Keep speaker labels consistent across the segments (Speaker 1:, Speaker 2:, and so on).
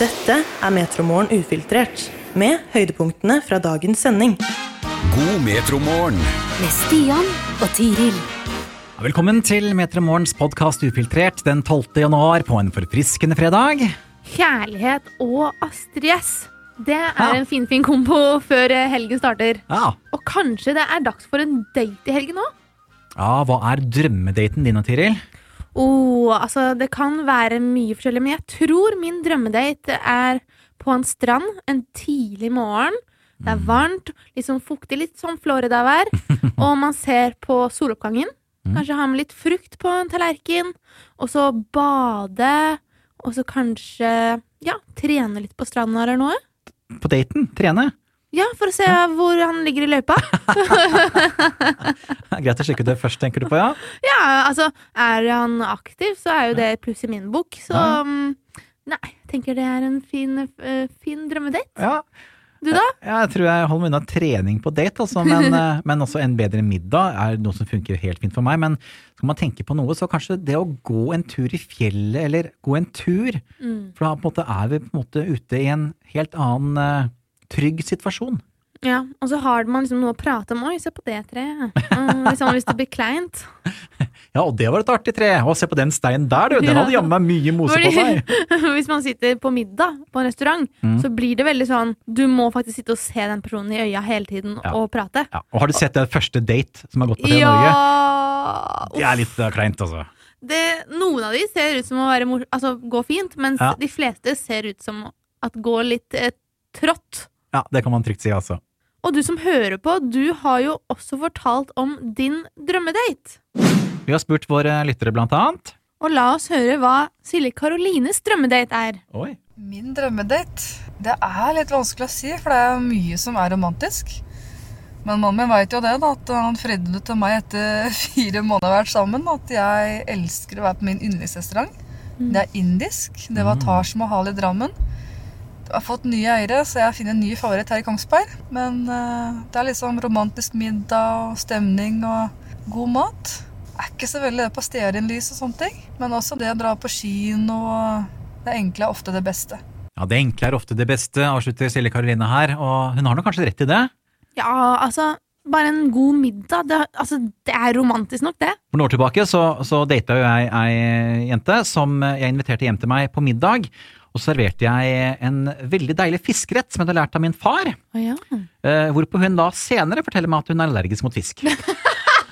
Speaker 1: Dette er Metromorgen ufiltrert, med høydepunktene fra dagens sending.
Speaker 2: God metromorgen.
Speaker 3: med Stian og Tiril.
Speaker 4: Velkommen til Metromorgens podkast Ufiltrert den 12. januar på en forfriskende fredag.
Speaker 5: Kjærlighet og Astrid S. Det
Speaker 4: Ja.
Speaker 5: er en finfin kombo før eh, helgen starter.
Speaker 4: Ja,
Speaker 5: Og kanskje det er dags for en date i helgen òg?
Speaker 4: ja Hva er drømmedaten din, Tiril?
Speaker 5: Oh, altså, det kan være mye forskjellig, men jeg tror min drømmedate er på en strand en tidlig morgen. Det er varmt, litt sånn fuktig, litt sånn Florida-vær. Og man ser på soloppgangen. Kanskje ha med litt frukt på en tallerken. Og så bade. Og så kanskje ja, trene litt på stranda eller noe.
Speaker 4: På daten? Trene?
Speaker 5: Ja, for å se hvor han ligger i løypa.
Speaker 4: Greit å sjekke det først, tenker du på, ja?
Speaker 5: Ja, altså, er han aktiv, så er jo det et pluss i min bok. Så
Speaker 4: Ja.
Speaker 5: mm, nei, tenker det er en fin, eh, fin drømmedate.
Speaker 4: Ja,
Speaker 5: Du da?
Speaker 4: Jeg tror jeg holder meg unna trening på date, altså, men, eh, men også en bedre middag er noe som funker helt fint for meg. Men skal man tenke på noe, så kanskje det å gå en tur i fjellet, eller gå en tur
Speaker 5: Mm.
Speaker 4: For da på en måte er vi på en måte ute i en helt annen eh, trygg situasjon.
Speaker 5: Ja, Og så har man liksom noe å prate om. Oi, se på det treet. Mm, liksom hvis det blir kleint.
Speaker 4: Ja, og det var et artig tre. Å, se på den steinen der, du. Den hadde
Speaker 5: Ja.
Speaker 4: jammen meg mye mose på
Speaker 5: Fordi,
Speaker 4: seg. Mm.
Speaker 5: hvis man sitter på middag på en restaurant, så blir det veldig sånn Du må faktisk sitte og se den personen i øya hele tiden
Speaker 4: Ja.
Speaker 5: og prate.
Speaker 4: Ja, og har du sett den første date som har gått på TV Norge?
Speaker 5: Ja!
Speaker 4: Det er litt eh, kleint, altså.
Speaker 5: det, noen av de ser ut som å være mor altså, gå fint, mens
Speaker 4: Ja.
Speaker 5: de fleste ser ut som at gå litt eh, trått.
Speaker 4: Ja, det kan man trygt si, altså.
Speaker 5: Og du som hører på, du har jo også fortalt om din drømmedate.
Speaker 4: Vi har spurt våre lyttere, blant annet.
Speaker 5: Og la oss høre hva Silje Karolines drømmedate er.
Speaker 4: Oi.
Speaker 6: Min drømmedate? Det er litt vanskelig å si, for det er mye som er romantisk. Men mannen min veit jo det, da, at han fredde det til meg etter fire måneder vi har vært sammen, at jeg elsker å være på min yndlingsrestaurant. Det er indisk. Det var Taj Mahal i Drammen. Jeg har fått nye eiere, så jeg finner en ny favoritt her i Kongsberg. Men eh, det er liksom romantisk middag og stemning og god mat. Jeg er ikke så veldig det på stearinlys og sånne ting, men også det å dra på kino og Det enkle er ofte det beste.
Speaker 4: Ja, det enkle er ofte det beste, avslutter Silje Karoline her. Og hun har nok kanskje rett i det.
Speaker 5: Ja, altså, bare en god middag. Det, altså, det er romantisk nok, det.
Speaker 4: For noen år tilbake så, så data jo jeg ei jente som jeg inviterte hjem til meg på middag. Og så serverte jeg en veldig deilig fiskerett som jeg hadde lært av min far.
Speaker 5: Å ja.
Speaker 4: Eh, hvorpå hun da senere forteller meg at hun er allergisk mot fisk.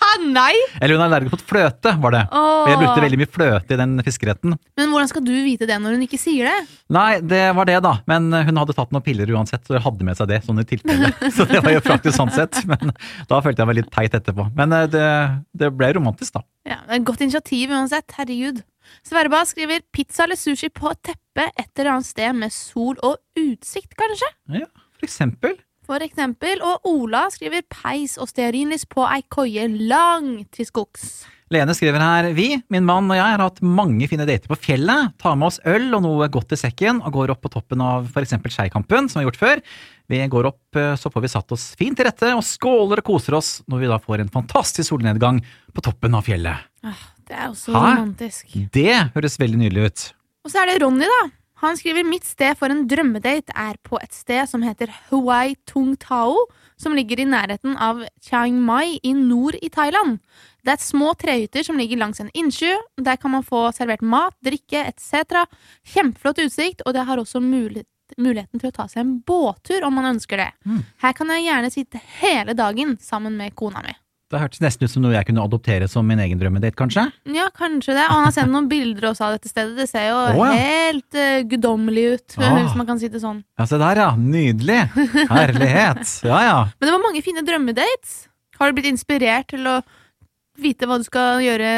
Speaker 5: Ah, nei!
Speaker 4: Eller hun er allergisk mot fløte, var det.
Speaker 5: Åh.
Speaker 4: Og jeg brukte veldig mye fløte i den fiskeretten.
Speaker 5: Men hvordan skal du vite det når hun ikke sier det?
Speaker 4: Nei, det var det, da. Men eh, hun hadde tatt noen piller uansett, så hun hadde med seg det. sånn i tilfelle. Så det var jo praktisk sånn sett. Men da følte jeg meg litt teit etterpå. Men eh, det, det ble romantisk, da.
Speaker 5: Ja, det er et Godt initiativ uansett. Herregud. Sverba skriver 'pizza eller sushi på teppet et eller annet sted med sol og utsikt', kanskje?
Speaker 4: Ja, for eksempel.
Speaker 5: For eksempel. Og Ola skriver 'peis og stearinlys på ei koie langt til skogs'.
Speaker 4: Lene skriver her Vi, min mann og jeg har hatt mange fine dater på fjellet. Tar med oss øl og noe godt i sekken og går opp på toppen av f.eks. Skeikampen, som vi har gjort før. Vi går opp, eh, så får vi satt oss fint til rette og skåler og koser oss når vi da får en fantastisk solnedgang på toppen av fjellet.
Speaker 5: Ah, Det er også
Speaker 4: Hæ?
Speaker 5: romantisk.
Speaker 4: Det høres veldig nydelig ut.
Speaker 5: Og så er det Ronny, da. Han skriver 'mitt sted for en drømmedate er på et sted som heter Hawaii Tung Tao', som ligger i nærheten av Chiang Mai i nord i Thailand. Det er små trehytter som ligger langs en innsjø. Der kan man få servert mat, drikke etc. Kjempeflott utsikt, og det har også mulighet muligheten til å ta seg en båttur om man ønsker det. Her kan jeg gjerne sitte hele dagen sammen med kona mi.
Speaker 4: Det hørtes nesten ut som noe jeg kunne adoptere som min egen drømmedate, kanskje.
Speaker 5: Ja, kanskje det. Og han har sendt noen bilder også av dette stedet. Det ser jo
Speaker 4: Å, ja.
Speaker 5: helt eh, guddommelig ut,
Speaker 4: Ah.
Speaker 5: hvis man kan si det sånn.
Speaker 4: Ja, se der, ja. Nydelig. Herlighet. Ja, ja.
Speaker 5: Men det var mange fine drømmedates. Har du blitt inspirert til å vite hva du skal gjøre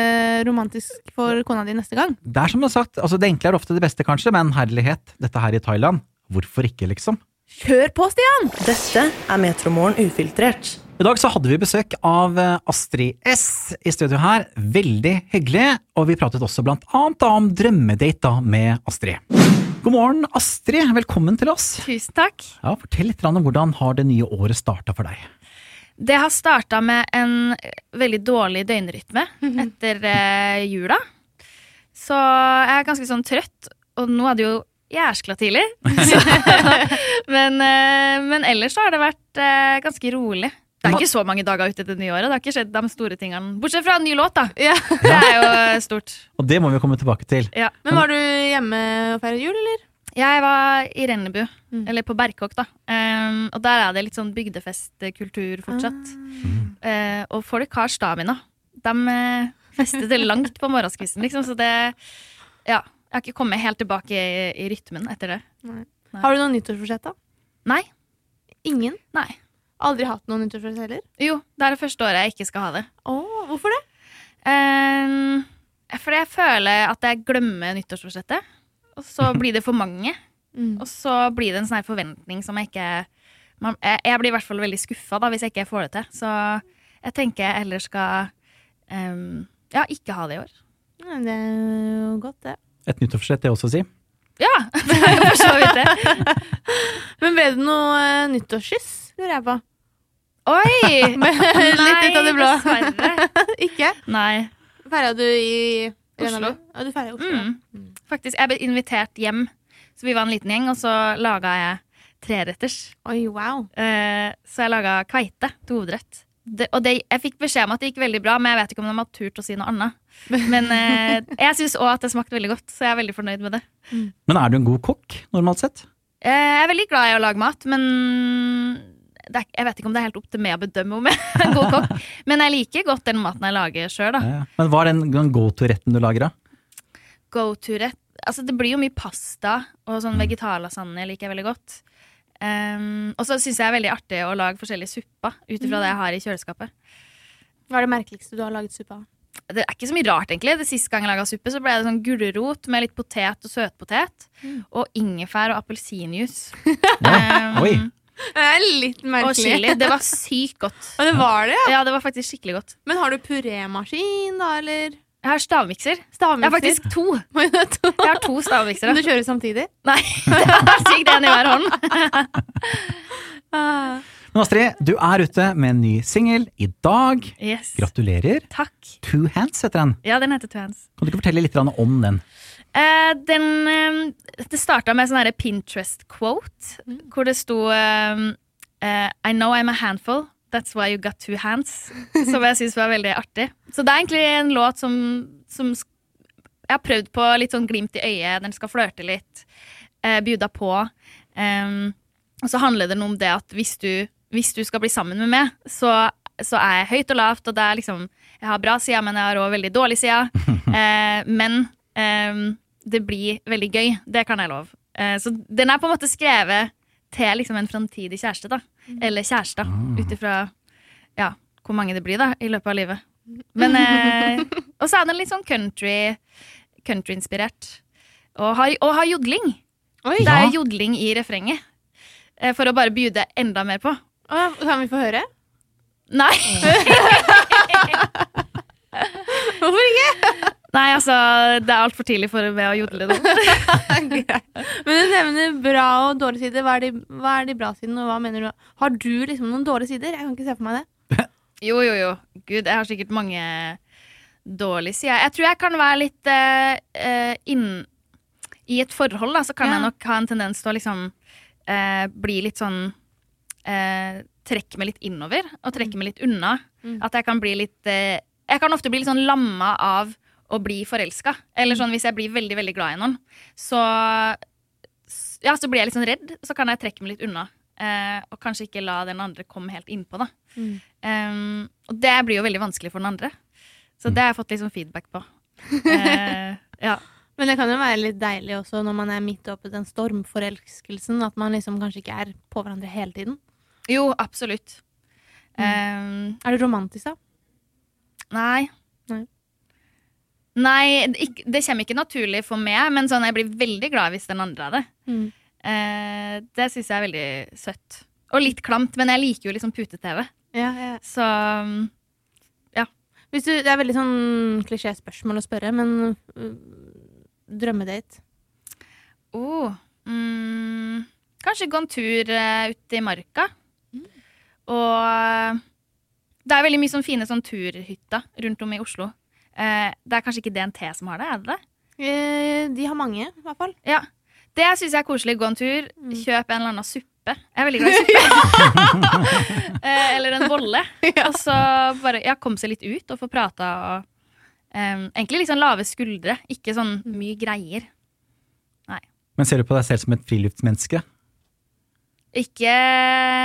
Speaker 5: romantisk for kona di neste gang?
Speaker 4: Det er som du har sagt, altså det enkle er ofte det beste, kanskje, men herlighet, dette her i Thailand, hvorfor ikke, liksom?
Speaker 5: Kjør på, Stian!
Speaker 1: Dette er Metromorgen ufiltrert.
Speaker 4: I dag så hadde vi besøk av eh, Astrid S i studio her. Veldig hyggelig. Og vi pratet også blant annet da om drømmedate da med Astrid. God morgen, Astrid. Velkommen til oss.
Speaker 7: Tusen takk.
Speaker 4: Ja, Fortell litt grann om hvordan har det nye året starta for deg.
Speaker 7: Det har starta med en veldig dårlig døgnrytme
Speaker 5: Mhm.
Speaker 7: etter eh, jula. Så jeg er ganske sånn trøtt, og nå er det jo jeg er skla tidlig. Så- men, eh, men ellers så har det vært eh, ganske rolig. Det er ikke så mange dager ute til det nye året. Det har ikke skjedd de store tingene. Bortsett fra en ny låt, da.
Speaker 5: Ja.
Speaker 7: Det er jo eh, stort.
Speaker 4: Og det må vi komme tilbake til.
Speaker 7: Ja.
Speaker 5: Men var du hjemme og feiret jul, eller?
Speaker 7: Jeg var i Rennebu,
Speaker 5: Mm.
Speaker 7: eller på Berkåk, da. Em, og der er det litt sånn bygdefestkultur fortsatt. Eh, og folk har stamina. De eh, festet det langt på morgenskvisten, liksom. Så det Ja. Jeg har ikke kommet helt tilbake i, i rytmen etter det.
Speaker 5: Har du noen nyttårsforsett, da?
Speaker 7: Nei.
Speaker 5: Ingen?
Speaker 7: Nei.
Speaker 5: Aldri hatt noen nyttårsforsett heller?
Speaker 7: Jo, det er det første året jeg ikke skal ha det.
Speaker 5: Åh, hvorfor det?
Speaker 7: Ehm, fordi jeg føler at jeg glemmer nyttårsforsettet. Og så blir det for mange.
Speaker 5: Mm.
Speaker 7: Og så blir det en sånn her forventning som jeg ikke man, jeg, jeg blir i hvert fall veldig skuffa da, hvis jeg ikke får det til. Så jeg tenker jeg heller skal ehm, ja, ikke ha det i år.
Speaker 5: Ja, Det er jo godt, det.
Speaker 4: Et nyttårsforsett, det også å si.
Speaker 7: Ja! det er jo for så vidt det.
Speaker 5: Men ble det noe eh, nyttårsskyss, lurer jeg på?
Speaker 7: Oi!
Speaker 5: litt ut av det blå.
Speaker 7: Nei, dessverre.
Speaker 5: Ikke?
Speaker 7: Nei.
Speaker 5: Feira du i
Speaker 7: Oslo.
Speaker 5: Rennabu? Ja, du feiret i Oslo. ja.
Speaker 7: Mm. Faktisk. Jeg ble invitert hjem, så vi var en liten gjeng, og så laga jeg treretters.
Speaker 5: Oi, wow.
Speaker 7: Eh, så jeg laga kveite til hovedrett. Det, og det, jeg fikk beskjed om at det gikk veldig bra, men jeg vet ikke om de har turt å si noe annet. Men eh, jeg syns òg at det smakte veldig godt, så jeg er veldig fornøyd med det.
Speaker 4: Men er du en god kokk, normalt sett?
Speaker 7: Eh, jeg er veldig glad i å lage mat, men det er, jeg vet ikke om det er helt opp til meg å bedømme om jeg er en god kokk. Men jeg liker godt den maten jeg lager sjøl, da.
Speaker 4: Ja. Eh, Men hva er den, den go to-retten du lager, da?
Speaker 7: Go to-rett. Altså, det blir jo mye pasta og sånn vegetarlasagne liker jeg veldig godt. Ehm, og så syns jeg det er veldig artig å lage forskjellige supper ut ifra det jeg har i kjøleskapet.
Speaker 5: Hva er det merkeligste du har laget suppe av?
Speaker 7: det er ikke så mye rart, egentlig. Det Sist gang jeg laga suppe, så ble det sånn gulrot med litt potet og søtpotet. Og ingefær og appelsinjuice.
Speaker 4: Ja. Oi!
Speaker 5: Det er litt
Speaker 7: Og
Speaker 5: merkelig.
Speaker 7: chili. Det var sykt godt.
Speaker 5: Og det var det, ja.
Speaker 7: Ja, det var faktisk skikkelig godt.
Speaker 5: Men har du purémaskin, da, eller?
Speaker 7: Jeg har stavmikser. Jeg har
Speaker 5: Stavmikser?
Speaker 7: faktisk to. Jeg har to stavmiksere.
Speaker 5: Men du kjører samtidig?
Speaker 7: Nei, det er sykt en i hver hånd.
Speaker 4: Men Astrid, du er ute med en ny singel i dag.
Speaker 7: Yes.
Speaker 4: Gratulerer.
Speaker 7: Takk.
Speaker 4: Two Hands heter den.
Speaker 7: Ja, den heter Twans.
Speaker 4: Kan du ikke fortelle litt grann om den?
Speaker 7: Eh, den, eh, det starta med en sånn herre Pinterest-quote, hvor det sto eh, eh, I know I'm a handful, that's why you got two hands. Som jeg syns var veldig artig. Så det er egentlig en låt som, som sk- jeg har prøvd på litt sånn glimt i øyet, den skal flørte litt, eh, bjuda på. Ehm, Em, og så handler den om det at hvis du, hvis du skal bli sammen med meg, så, så er jeg høyt og lavt, og det er liksom Jeg har bra sider, men jeg har òg veldig dårlige sider. Eh, men ehm, det blir veldig gøy. Det kan jeg love. Eh, så den er på en måte skrevet til liksom en framtidig kjæreste, da. Eller kjærester, ut ifra ja, hvor mange det blir da, i løpet av livet. Men, eh, og så er den litt sånn country countryinspirert. Og har, og har jodling. Det
Speaker 4: Ja.
Speaker 7: er jodling i refrenget. eh, For å bare bjude enda mer på.
Speaker 5: Å, kan vi få høre?
Speaker 7: Nei!
Speaker 5: Hvorfor ikke?
Speaker 7: Nei, altså, det er altfor tidlig for meg å jodle nå.
Speaker 5: Men du nevner bra og dårlige sider. Hva er de, hva er de bra sidene, og hva mener du? Har du liksom noen dårlige sider? Jeg kan ikke se for meg det.
Speaker 7: Jo, jo, jo. Gud, jeg har sikkert mange dårlige sider. Jeg tror jeg kan være litt eh, eh, inn... I et forhold da, så kan
Speaker 5: Ja.
Speaker 7: jeg nok ha en tendens til å liksom eh, bli litt sånn eh, Trekke meg litt innover og trekke meg litt unna.
Speaker 5: Mm.
Speaker 7: At jeg kan bli litt eh, Jeg kan ofte bli litt sånn lamma av å bli forelska.
Speaker 5: Mm.
Speaker 7: Eller sånn hvis jeg blir veldig, veldig glad i noen, så s- Ja, så blir jeg litt sånn redd, så kan jeg trekke meg litt unna. Eh, og kanskje ikke la den andre komme helt innpå, da.
Speaker 5: Mm.
Speaker 7: Um, og det blir jo veldig vanskelig for den andre. Så det har jeg fått litt sånn feedback på. Eh, ja.
Speaker 5: Men det kan jo være litt deilig også når man er midt oppe i den stormforelskelsen, at man liksom kanskje ikke er på hverandre hele tiden.
Speaker 7: Jo, absolutt. Um,
Speaker 5: Er du romantisk, da?
Speaker 7: nei.
Speaker 5: Nei.
Speaker 7: Nei, det ikk- det kommer ikke naturlig for meg, men sånn, jeg blir veldig glad hvis den andre er det.
Speaker 5: Mm.
Speaker 7: Eh, det syns jeg er veldig søtt. Og litt klamt, men jeg liker jo liksom pute-TV.
Speaker 5: Ja, ja.
Speaker 7: Så um,
Speaker 5: Hvis du, det er veldig sånn klisjéspørsmål å spørre, men øh, drømmedate?
Speaker 7: Oh, mm, kanskje gå en tur eh, ute i marka. Og eh, det er veldig mye sånn fine sånn turhytter rundt om i Oslo. Eh, det er kanskje ikke DNT som har det? er det det?
Speaker 5: Eh, de har mange, i hvert fall.
Speaker 7: Ja. Det syns jeg er koselig. Gå en tur, kjøp en eller annen suppe. Jeg er veldig glad i suppe. Eh, eller en bolle. Og så bare ja, komme seg litt ut og få prata og em, Egentlig liksom lave skuldre, ikke sånn mye greier.
Speaker 4: Men ser du på deg selv som et friluftsmenneske?
Speaker 7: Ikke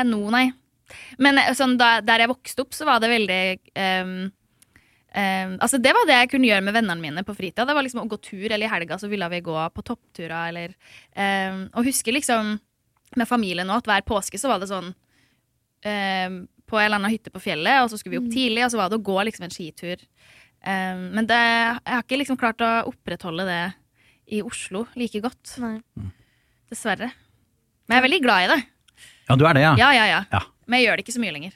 Speaker 7: nå, nei. Men eh, sånn, da, der jeg vokste opp, så var det veldig em, em, altså Det var det jeg kunne gjøre med vennene mine på fritida. Det var liksom å gå tur, eller i helga så ville vi gå på toppturer. Eller, em, og husker liksom med familien nå at hver påske så var det sånn em, På en eller annen hytte på fjellet, og så skulle vi opp tidlig, og så var det å gå liksom en skitur. Em, men det, jeg har ikke liksom klart å opprettholde det i Oslo like godt.
Speaker 5: Nei.
Speaker 7: Dessverre. Men jeg er veldig glad i det.
Speaker 4: Ja, du er det, ja.
Speaker 7: Ja, ja, ja.
Speaker 4: Ja.
Speaker 7: Men jeg gjør det ikke så mye lenger.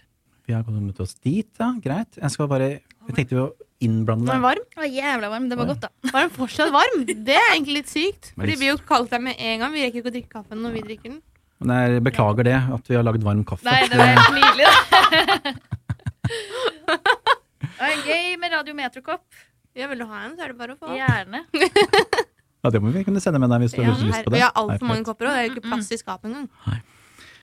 Speaker 4: Vi har kommet oss dit, ja. Greit. Jeg skal bare Jeg tenkte jo å innblande deg.
Speaker 5: Den er varm.
Speaker 7: Det var jævla varm. Det var godt, da.
Speaker 5: Var den fortsatt varm? Det er egentlig litt sykt.
Speaker 4: Men
Speaker 5: Fordi
Speaker 4: litt-
Speaker 5: vi jo kalte deg med en gang. Vi rekker ikke å drikke kaffen når vi drikker den.
Speaker 4: Men jeg beklager det, at vi har lagd varm kaffe.
Speaker 7: Nei, det var helt nydelig, da. Det var gøy med Radio Metrokopp.
Speaker 5: Ja, vil du ha en, så er det bare å få.
Speaker 7: Gjerne.
Speaker 4: Ja, det må vi kunne sende med deg hvis du
Speaker 5: Ja,
Speaker 4: har lyst
Speaker 5: her,
Speaker 4: på
Speaker 5: og
Speaker 4: det.
Speaker 5: jeg har
Speaker 4: Nei,
Speaker 5: altfor mange
Speaker 4: flott.
Speaker 5: kopper òg. Det er jo ikke plass i skapet engang.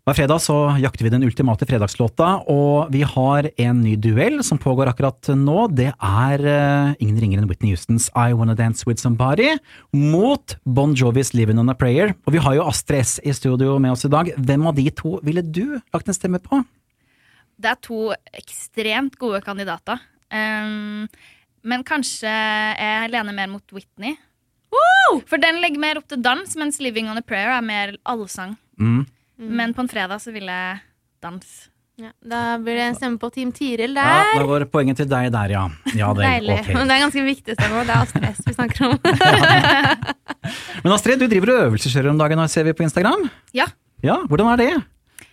Speaker 4: Hver fredag så jakter vi den ultimate fredagslåta, og vi har en ny duell som pågår akkurat nå. Det er eh, ingen ringere enn Whitney Houstons I Wanna Dance With Somebody mot Bon Jovis Living On A Prayer. Og vi har jo Astrid S i studio med oss i dag. Hvem av de to ville du lagt en stemme på?
Speaker 7: Det er to ekstremt gode kandidater. Ehm, men kanskje jeg lener mer mot Whitney. For den legger mer opp til dans, mens Living on a Prayer er mer allsang.
Speaker 4: Mm.
Speaker 7: Men på en fredag så vil jeg danse.
Speaker 5: Ja, da blir det en stemme på Team Tiril
Speaker 4: Ja,
Speaker 5: der.
Speaker 4: da går poenget til deg der, ja. Ja, det,
Speaker 5: Deilig.
Speaker 4: ok.
Speaker 5: Men det er ganske viktig stemme. og Det er stress vi snakker om.
Speaker 4: Men Astrid, du driver og øvelseskjører om dagen, ser vi på Instagram?
Speaker 7: Ja.
Speaker 4: Ja, hvordan er det?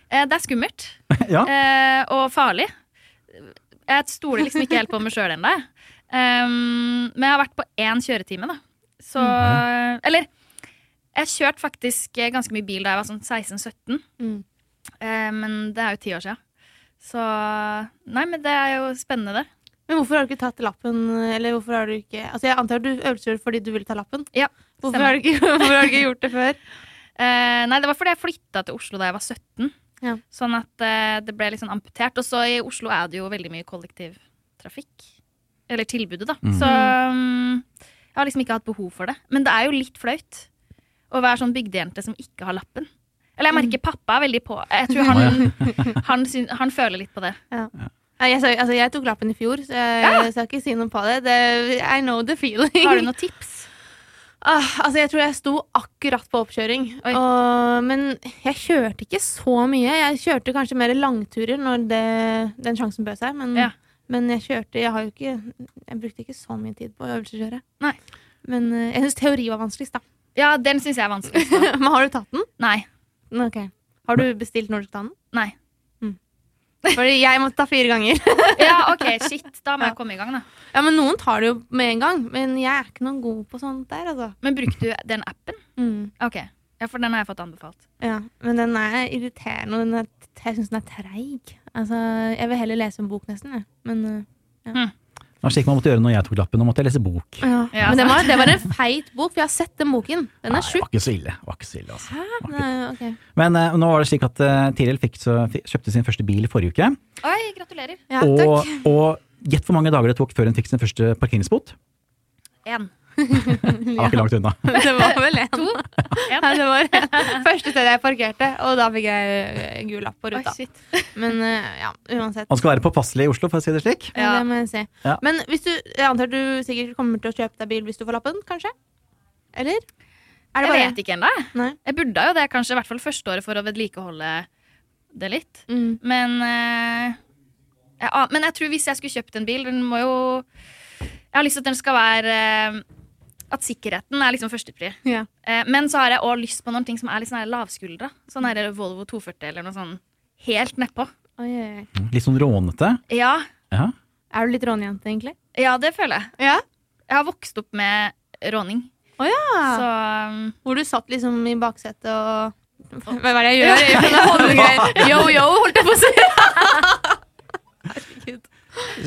Speaker 7: Eh, det er skummelt.
Speaker 4: ja.
Speaker 7: eh, og farlig. Jeg stoler liksom ikke helt på meg sjøl ennå. jeg. Um, men jeg har vært på én kjøretime, da. Så Eller jeg kjørte faktisk eh, ganske mye bil da jeg var sånn 16-17.
Speaker 5: Mm.
Speaker 7: Eh, men det er jo ti år sia. Så Nei, men det er jo spennende, det.
Speaker 5: Men hvorfor har du ikke tatt lappen? Eller hvorfor har du ikke Altså, jeg antar du øvelseskjører fordi du ville ta lappen?
Speaker 7: Ja,
Speaker 5: Hvorfor har,
Speaker 7: stemmer.
Speaker 5: du ikke, hvorfor har du ikke gjort det før?
Speaker 7: Eh, nei, det var fordi jeg flytta til Oslo da jeg var 17.
Speaker 5: Ja.
Speaker 7: Sånn at eh, det ble litt sånn amputert. Og så i Oslo er det jo veldig mye kollektivtrafikk. Eller tilbudet, da. Så mm, jeg har liksom ikke hatt behov for det. Men det er jo litt flaut å være sånn bygdejente som ikke har lappen. Eller jeg
Speaker 5: Mhm.
Speaker 7: merker pappa er veldig på. Jeg tror han, han, syn, han føler litt på det.
Speaker 5: Nei, Jeg, sa, altså, jeg tok lappen i fjor, så jeg skal ikke si noe på det. det. I know the feeling.
Speaker 7: Har du noen tips?
Speaker 5: Ah, altså, jeg tror jeg sto akkurat på oppkjøring.
Speaker 7: Oi.
Speaker 5: Og, men jeg kjørte ikke så mye. Jeg kjørte kanskje mer langturer når det, den sjansen bød seg. Men,
Speaker 7: Ja.
Speaker 5: men jeg kjørte Jeg, har jo ikke, jeg brukte ikke så mye tid på øvelseskjøre.
Speaker 7: Nei.
Speaker 5: Men eh, jeg syns teori var vanskeligst, da.
Speaker 7: Ja, den syns jeg er vanskeligst. da.
Speaker 5: men har du tatt den?
Speaker 7: Nei.
Speaker 5: Ok. Har du bestilt når du skal ta den?
Speaker 7: Nei.
Speaker 5: Fordi jeg måtte ta fire ganger.
Speaker 7: Ja, OK, shit. Da må jeg komme i gang, da.
Speaker 5: Ja, men Noen tar det jo med en gang, men jeg er ikke noen god på sånt der. altså.
Speaker 7: Men brukte du den appen?
Speaker 5: Mm,
Speaker 7: OK. Ja, for den har jeg fått anbefalt.
Speaker 5: ja. Men den er irriterende, og den er, jeg syns den er treig. Altså, jeg vil heller lese en bok, nesten. Jeg. Men, øh,
Speaker 4: Det var slik man måtte gjøre når jeg tok lappen, nå måtte jeg lese bok.
Speaker 7: Ja,
Speaker 5: men det,
Speaker 7: sant.
Speaker 5: var, det var en feit bok, for jeg har sett den boken. Den
Speaker 4: Nei,
Speaker 5: er
Speaker 4: det
Speaker 5: sjuk.
Speaker 4: var ikke så ille. Det var ikke så ille altså.
Speaker 5: Hæ?
Speaker 4: var ikke-
Speaker 5: Nei, ok.
Speaker 4: Men eh, nå var det slik at eh, Tiril fikk så, fi- kjøpte sin første bil forrige uke.
Speaker 7: Oi, gratulerer.
Speaker 5: Ja,
Speaker 4: og,
Speaker 5: takk.
Speaker 4: og gjett hvor mange dager det tok før hun fikk sin første parkeringsbot?
Speaker 7: En.
Speaker 4: Det var ikke langt unna.
Speaker 5: Det var vel en.
Speaker 7: To.
Speaker 5: Ja, det var første stedet jeg parkerte, og da fikk jeg øh, gul lapp på
Speaker 7: Oi,
Speaker 5: ruta.
Speaker 7: shit.
Speaker 5: Men øh, ja, uansett.
Speaker 4: Man skal være påpasselig i Oslo, for å si det slik.
Speaker 5: Ja. Det må jeg si.
Speaker 4: Ja.
Speaker 5: Men hvis du, jeg antar du sikkert kommer til å kjøpe deg bil hvis du får lappen, kanskje? Eller? Er
Speaker 7: Jeg
Speaker 5: det bare
Speaker 7: vet ikke ennå.
Speaker 5: Nei.
Speaker 7: Jeg burde jo det kanskje i hvert fall første året for å vedlikeholde det litt.
Speaker 5: Mm.
Speaker 7: Men, eh, jeg, an- men jeg tror hvis jeg skulle kjøpt en bil Den må jo Jeg har lyst til at den skal være eh, At sikkerheten er liksom førstepri.
Speaker 5: Ja.
Speaker 7: Eh, men så har jeg òg lyst på noen ting som er litt sånn her lavskuldra. Sånn her Volvo 240 eller noe sånn helt nedpå.
Speaker 5: Oi, oi, oi.
Speaker 4: Litt sånn rånete.
Speaker 7: Ja,
Speaker 4: Ja.
Speaker 5: Er du litt rånejente, egentlig?
Speaker 7: ja, det føler jeg.
Speaker 5: Ja.
Speaker 7: Jeg har vokst opp med råning.
Speaker 5: Å ja.
Speaker 7: Så um,
Speaker 5: Hvor du satt liksom i baksetet og Hva er det jeg gjør? Jeg holder greier. Yo, yo, holdt jeg på å si. Herregud.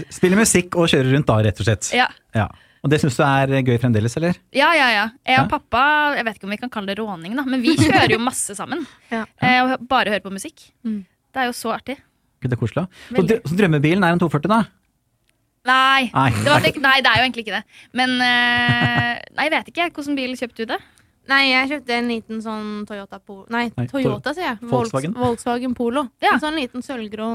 Speaker 4: Spiller musikk og kjører rundt da, rett og slett.
Speaker 7: ja.
Speaker 4: Ja. Og det syns du er gøy fremdeles, eller?
Speaker 7: Ja, ja, ja. Jeg
Speaker 4: Ja.
Speaker 7: og pappa, jeg vet ikke om vi kan kalle det råning, da, men vi kjører jo masse sammen.
Speaker 5: Ja.
Speaker 7: Eh, og hø- bare hører på musikk.
Speaker 5: Mm.
Speaker 7: Det er jo så artig.
Speaker 4: Gud, det er koselig. da. Så,
Speaker 7: Veldig.
Speaker 4: dr- så drømmebilen er en 240, da?
Speaker 7: Nei.
Speaker 4: Nei.
Speaker 7: Det var, tek- nei, det er jo egentlig ikke det. Men eh, nei, jeg vet ikke. Hvordan bil kjøpte du det?
Speaker 5: Nei, jeg kjøpte en liten sånn Toyota Polo Nei,
Speaker 4: Nei,
Speaker 5: Toyota, sier jeg. Volks-
Speaker 4: Volkswagen.
Speaker 5: Volkswagen Polo.
Speaker 7: Ja.
Speaker 5: En sånn liten sølvgrå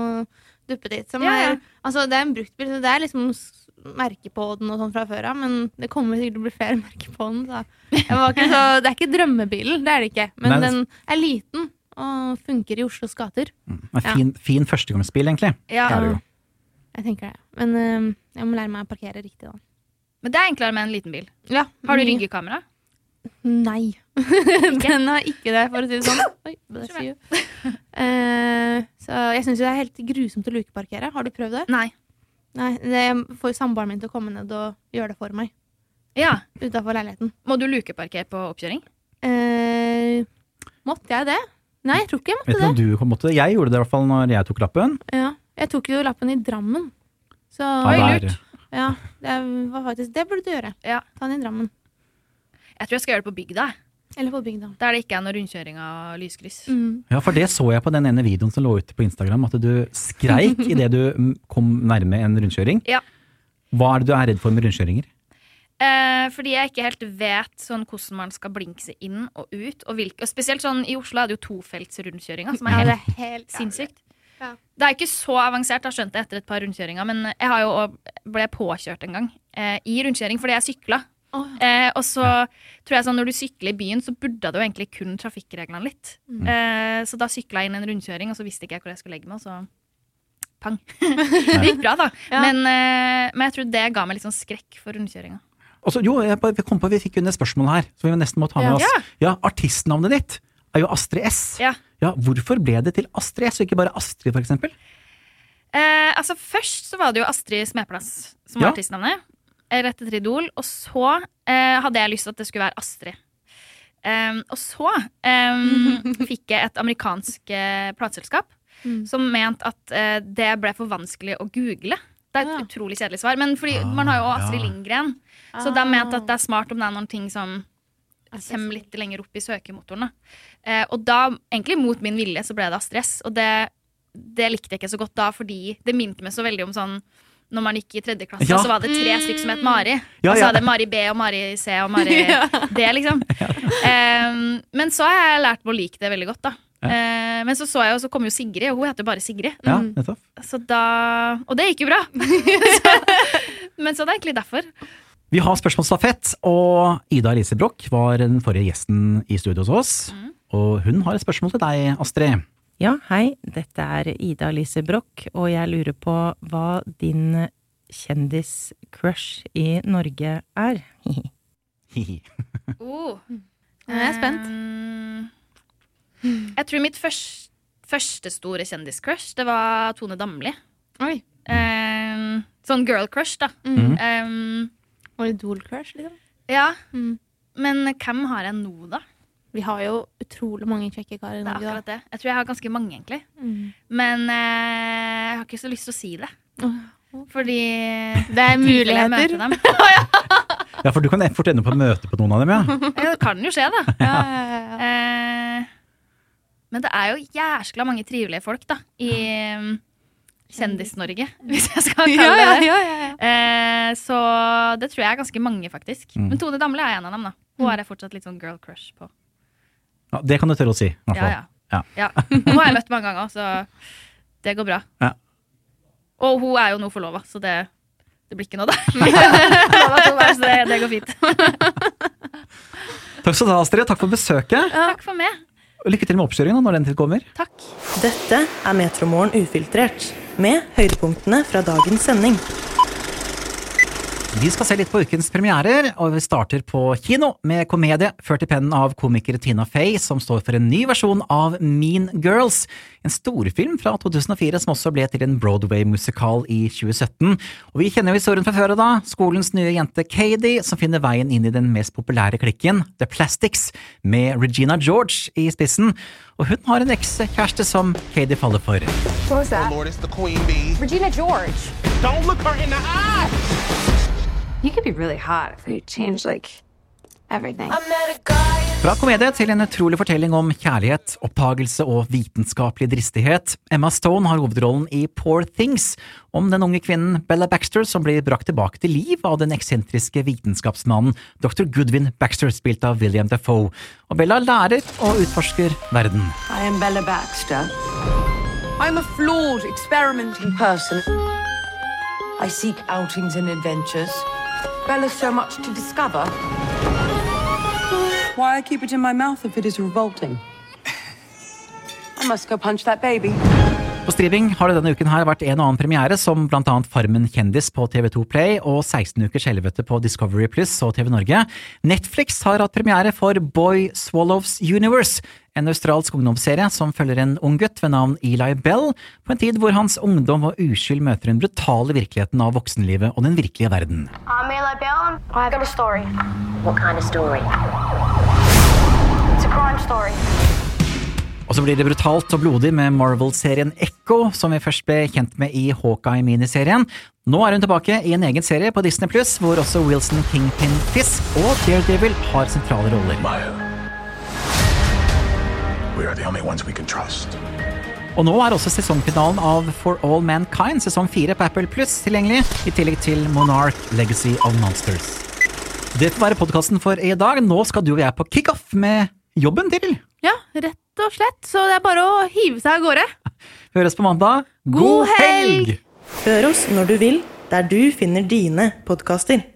Speaker 5: duppeditt. Som
Speaker 7: Ja, ja.
Speaker 5: Er, altså, det er en bruktbil, så det er liksom s- merke på den og sånn fra før av, men det kommer sikkert til å bli flere merker på den. Så. Jeg var ikke så, det er ikke drømmebilen, det er det ikke, men
Speaker 4: Nei, det-
Speaker 5: den er liten og funker i Oslos gater.
Speaker 4: En
Speaker 5: Ja.
Speaker 4: fin, fin førstegangsbil, egentlig.
Speaker 7: Ja.
Speaker 4: Er det jo.
Speaker 5: Jeg tenker det. Men øhm, jeg må lære meg å parkere riktig, da.
Speaker 7: Men det er enklere med en liten bil.
Speaker 5: Ja,
Speaker 7: Har du
Speaker 5: mye-
Speaker 7: ryggekamera?
Speaker 5: Nei. den har ikke det, for å si det sånn. Oi, bless
Speaker 7: Skjønner.
Speaker 5: you. Eh, så jeg syns det er helt grusomt å lukeparkere. Har du prøvd det?
Speaker 7: Nei.
Speaker 5: Nei, det jeg får samboeren min til å komme ned og gjøre det for meg.
Speaker 7: Ja.
Speaker 5: Utafor leiligheten.
Speaker 7: Må du lukeparkere på oppkjøring?
Speaker 5: Eh, måtte jeg det? Nei, jeg tror ikke jeg
Speaker 4: Vet
Speaker 5: måtte
Speaker 4: ikke om
Speaker 5: det.
Speaker 4: du kom til det. Jeg gjorde det i hvert fall når jeg tok lappen.
Speaker 5: Ja. Jeg tok jo lappen i Drammen. Så
Speaker 4: Ja, der.
Speaker 5: ja, det var faktisk Det burde du gjøre.
Speaker 7: Ja.
Speaker 5: Ta den i Drammen.
Speaker 7: Jeg tror jeg skal gjøre det på bygda. jeg.
Speaker 5: Eller på bygda.
Speaker 7: Der det ikke er noe rundkjøring av lyskryss.
Speaker 5: Mm.
Speaker 4: Ja, for det så jeg på den ene videoen som lå ute på Instagram, at du skreik idet du mm, kom nærme en rundkjøring.
Speaker 7: Ja.
Speaker 4: Hva er det du er redd for med rundkjøringer?
Speaker 7: Eh, fordi jeg ikke helt vet sånn hvordan man skal blinkse inn og ut. Og, hvilke, og spesielt sånn i Oslo er det jo tofelts rundkjøringer, som er
Speaker 5: Ja,
Speaker 7: helt
Speaker 5: det er helt
Speaker 7: sinnssykt.
Speaker 5: Ja.
Speaker 7: Det er ikke så avansert, jeg har skjønt det etter et par rundkjøringer. Men jeg har jo også- ble påkjørt en gang eh, i rundkjøring fordi jeg sykla.
Speaker 5: Åh.
Speaker 7: Eh, og så tror jeg sånn når du sykler i byen, så burde du jo egentlig kun trafikkreglene litt. Eh, så da sykla jeg inn en rundkjøring, og så visste ikke jeg hvor jeg skulle legge meg. og så... Pang. det gikk bra, da.
Speaker 5: Ja.
Speaker 7: Men, eh, men jeg tror det ga meg litt sånn skrekk for rundkjøringa.
Speaker 4: Og så- Altså, jo, jeg bare kom på Vi fikk jo et spørsmål her, som vi nesten må ta med
Speaker 5: Ja.
Speaker 4: oss. Ja, Artistnavnet ditt er jo Astrid S.
Speaker 7: Ja.
Speaker 4: Hvorfor ble det til Astrid S, og ikke bare Astrid, for eksempel?
Speaker 7: Eh, altså Først så var det jo Astrid Smeplass som var
Speaker 4: Ja.
Speaker 7: artistnavnet. Eh, Rett etter Idol. Og så eh, hadde jeg lyst til at det skulle være Astrid. Em, og så em, fikk jeg et amerikansk eh, plateselskap
Speaker 5: Mm.
Speaker 7: som mente at eh, det ble for vanskelig å google. Det er et
Speaker 5: Ja.
Speaker 7: utrolig kjedelig svar. Men fordi
Speaker 4: Ah,
Speaker 7: man har jo også
Speaker 4: ja. Ah.
Speaker 7: Astrid Lindgren. Så de mente at det er smart om det er noen ting som kommer litt lenger opp i søkemotoren. Da. Eh, og da, egentlig mot min vilje, så ble det Astrid S. Og det, det likte jeg ikke så godt da, fordi det minte meg så veldig om sånn når man gikk i tredje klasse,
Speaker 4: Ja.
Speaker 7: så var det tre stykker som het Mari.
Speaker 4: Ja,
Speaker 7: Og så
Speaker 4: ja.
Speaker 7: hadde Mari B og Mari C og Mari D, liksom. Em, men så har jeg lært meg å like det veldig godt, da. Eh, men så så jeg jo, så kom jo Sigrid, og hun heter jo bare Sigrid.
Speaker 4: Ja, nettopp.
Speaker 7: Så da, og det gikk jo bra. så, men så det er egentlig derfor.
Speaker 4: Vi har spørsmålsstafett, og Ida Elise Broch var den forrige gjesten i studio hos oss.
Speaker 7: Mm.
Speaker 4: Og hun har et spørsmål til deg, Astrid.
Speaker 8: Ja, hei. Dette er Ida Lise Broch, og jeg lurer på hva din kjendiscrush i Norge er.
Speaker 4: Hihi.
Speaker 7: Oh.
Speaker 5: Ja, Jeg er spent.
Speaker 7: Um, jeg tror mitt først, første store kjendiscrush, det var Tone Damli.
Speaker 5: Oi.
Speaker 7: Um, sånn girl crush, da.
Speaker 5: Mm.
Speaker 7: Um,
Speaker 5: Og Idol-crush, liksom.
Speaker 7: ja.
Speaker 5: Mm.
Speaker 7: Men hvem har jeg nå, da?
Speaker 5: Vi har jo utrolig mange kjekke karer i
Speaker 7: Det er
Speaker 5: Norge.
Speaker 7: akkurat det. Jeg tror jeg har ganske mange, egentlig.
Speaker 5: da. Mm.
Speaker 7: Men eh, jeg har ikke så lyst til å si det. Fordi
Speaker 5: Det er
Speaker 7: Jeg
Speaker 5: muligheter.
Speaker 7: møter dem.
Speaker 4: Ja, for du kan fort ende på å møte på noen av dem, ja.
Speaker 7: Det kan jo skje, da.
Speaker 5: Ja, ja, ja.
Speaker 7: Eh, men det er jo jæskla mange trivelige folk da i um, Kjendis-Norge, hvis jeg skal kalle det det.
Speaker 5: ja, ja, ja.
Speaker 7: Eh, så det tror jeg er ganske mange, faktisk.
Speaker 4: Mm.
Speaker 7: Men Tone Damli er en av dem. da
Speaker 5: Mm.
Speaker 7: Hun har jeg fortsatt litt sånn girl crush på.
Speaker 4: ja. Det kan du tørre å si. i hvert
Speaker 7: Ja,
Speaker 4: fall.
Speaker 7: ja. Ja. Hun har jeg møtt mange ganger, så det går bra.
Speaker 4: Ja.
Speaker 7: Og hun er jo nå forlova, så det, det blir ikke noe, da. Forlova to år, så det, det går fint.
Speaker 4: Takk skal du ha, Astrid. Takk for besøket.
Speaker 7: Takk for meg.
Speaker 4: Og lykke til med oppkjøringen da, når den tid kommer.
Speaker 7: Takk.
Speaker 1: Dette er Metromorgen ufiltrert, med høydepunktene fra dagens sending.
Speaker 4: Vi skal se litt på ukens premierer, og vi starter på kino med komedie ført i pennen av komiker Tina Fey, som står for en ny versjon av Mean Girls. En storfilm fra 2004 som også ble til en Broadway-musikal i 2017. Og vi kjenner jo historien fra før av da. Skolens nye jente Katie, som finner veien inn i den mest populære klikken, The Plastics, med Regina George i spissen. Og hun har en ekskjæreste som Katie faller for.
Speaker 9: Lord, it's the queen bee.
Speaker 10: Regina George.
Speaker 9: Don't look her in the eye! You could be really hot if they change like everything.
Speaker 4: Fra komedie til en utrolig fortelling om kjærlighet, oppdagelse og vitenskapelig dristighet. Emma Stone har hovedrollen i Poor Things, om den unge kvinnen Bella Baxter som blir brakt tilbake til liv av den eksentriske vitenskapsmannen dr. Goodwin Baxter, spilt av William Defoe. Og Bella lærer og utforsker verden.
Speaker 10: I am Bella Baxter. I'm a flawed, experimenting person. I seek outings and adventures. Bella's so much to discover. Why I keep it in my mouth if it is revolting? I must go punch that baby.
Speaker 4: På streaming har det denne uken her vært en og annen premiere, som blant annet Farmen kjendis på TV2 Play og 16 ukers helvete på Discovery Pluss og TV Norge. Netflix har hatt premiere for Boy Swallows Universe, en australsk ungdomsserie som følger en ung gutt ved navn Eli Bell på en tid hvor hans ungdom og uskyld møter den brutale virkeligheten av voksenlivet og den virkelige verden.
Speaker 11: I'm Eli Bell. I've got a story. What kind of story? It's a crime story.
Speaker 4: Og så blir det brutalt og blodig med Marvel-serien Echo, som vi først ble kjent med i Hawkeye-miniserien. Nå er hun tilbake i en egen serie på Disney Pluss, hvor også Wilson Kingpin Fisk og Daredevil har sentrale roller.
Speaker 2: We are the only ones we can trust.
Speaker 4: Og nå er også sesongfinalen av For All Mankind sesong fire på Apple Pluss tilgjengelig, i tillegg til Monarch Legacy of Monsters. Det får være podkasten for i dag. Nå skal du og jeg på kickoff med jobben til.
Speaker 5: Ja, rett og slett. Så det er bare å hive seg av gårde.
Speaker 4: Høres på mandag.
Speaker 5: God helg!
Speaker 1: Hør oss når du vil, der du finner dine podkaster.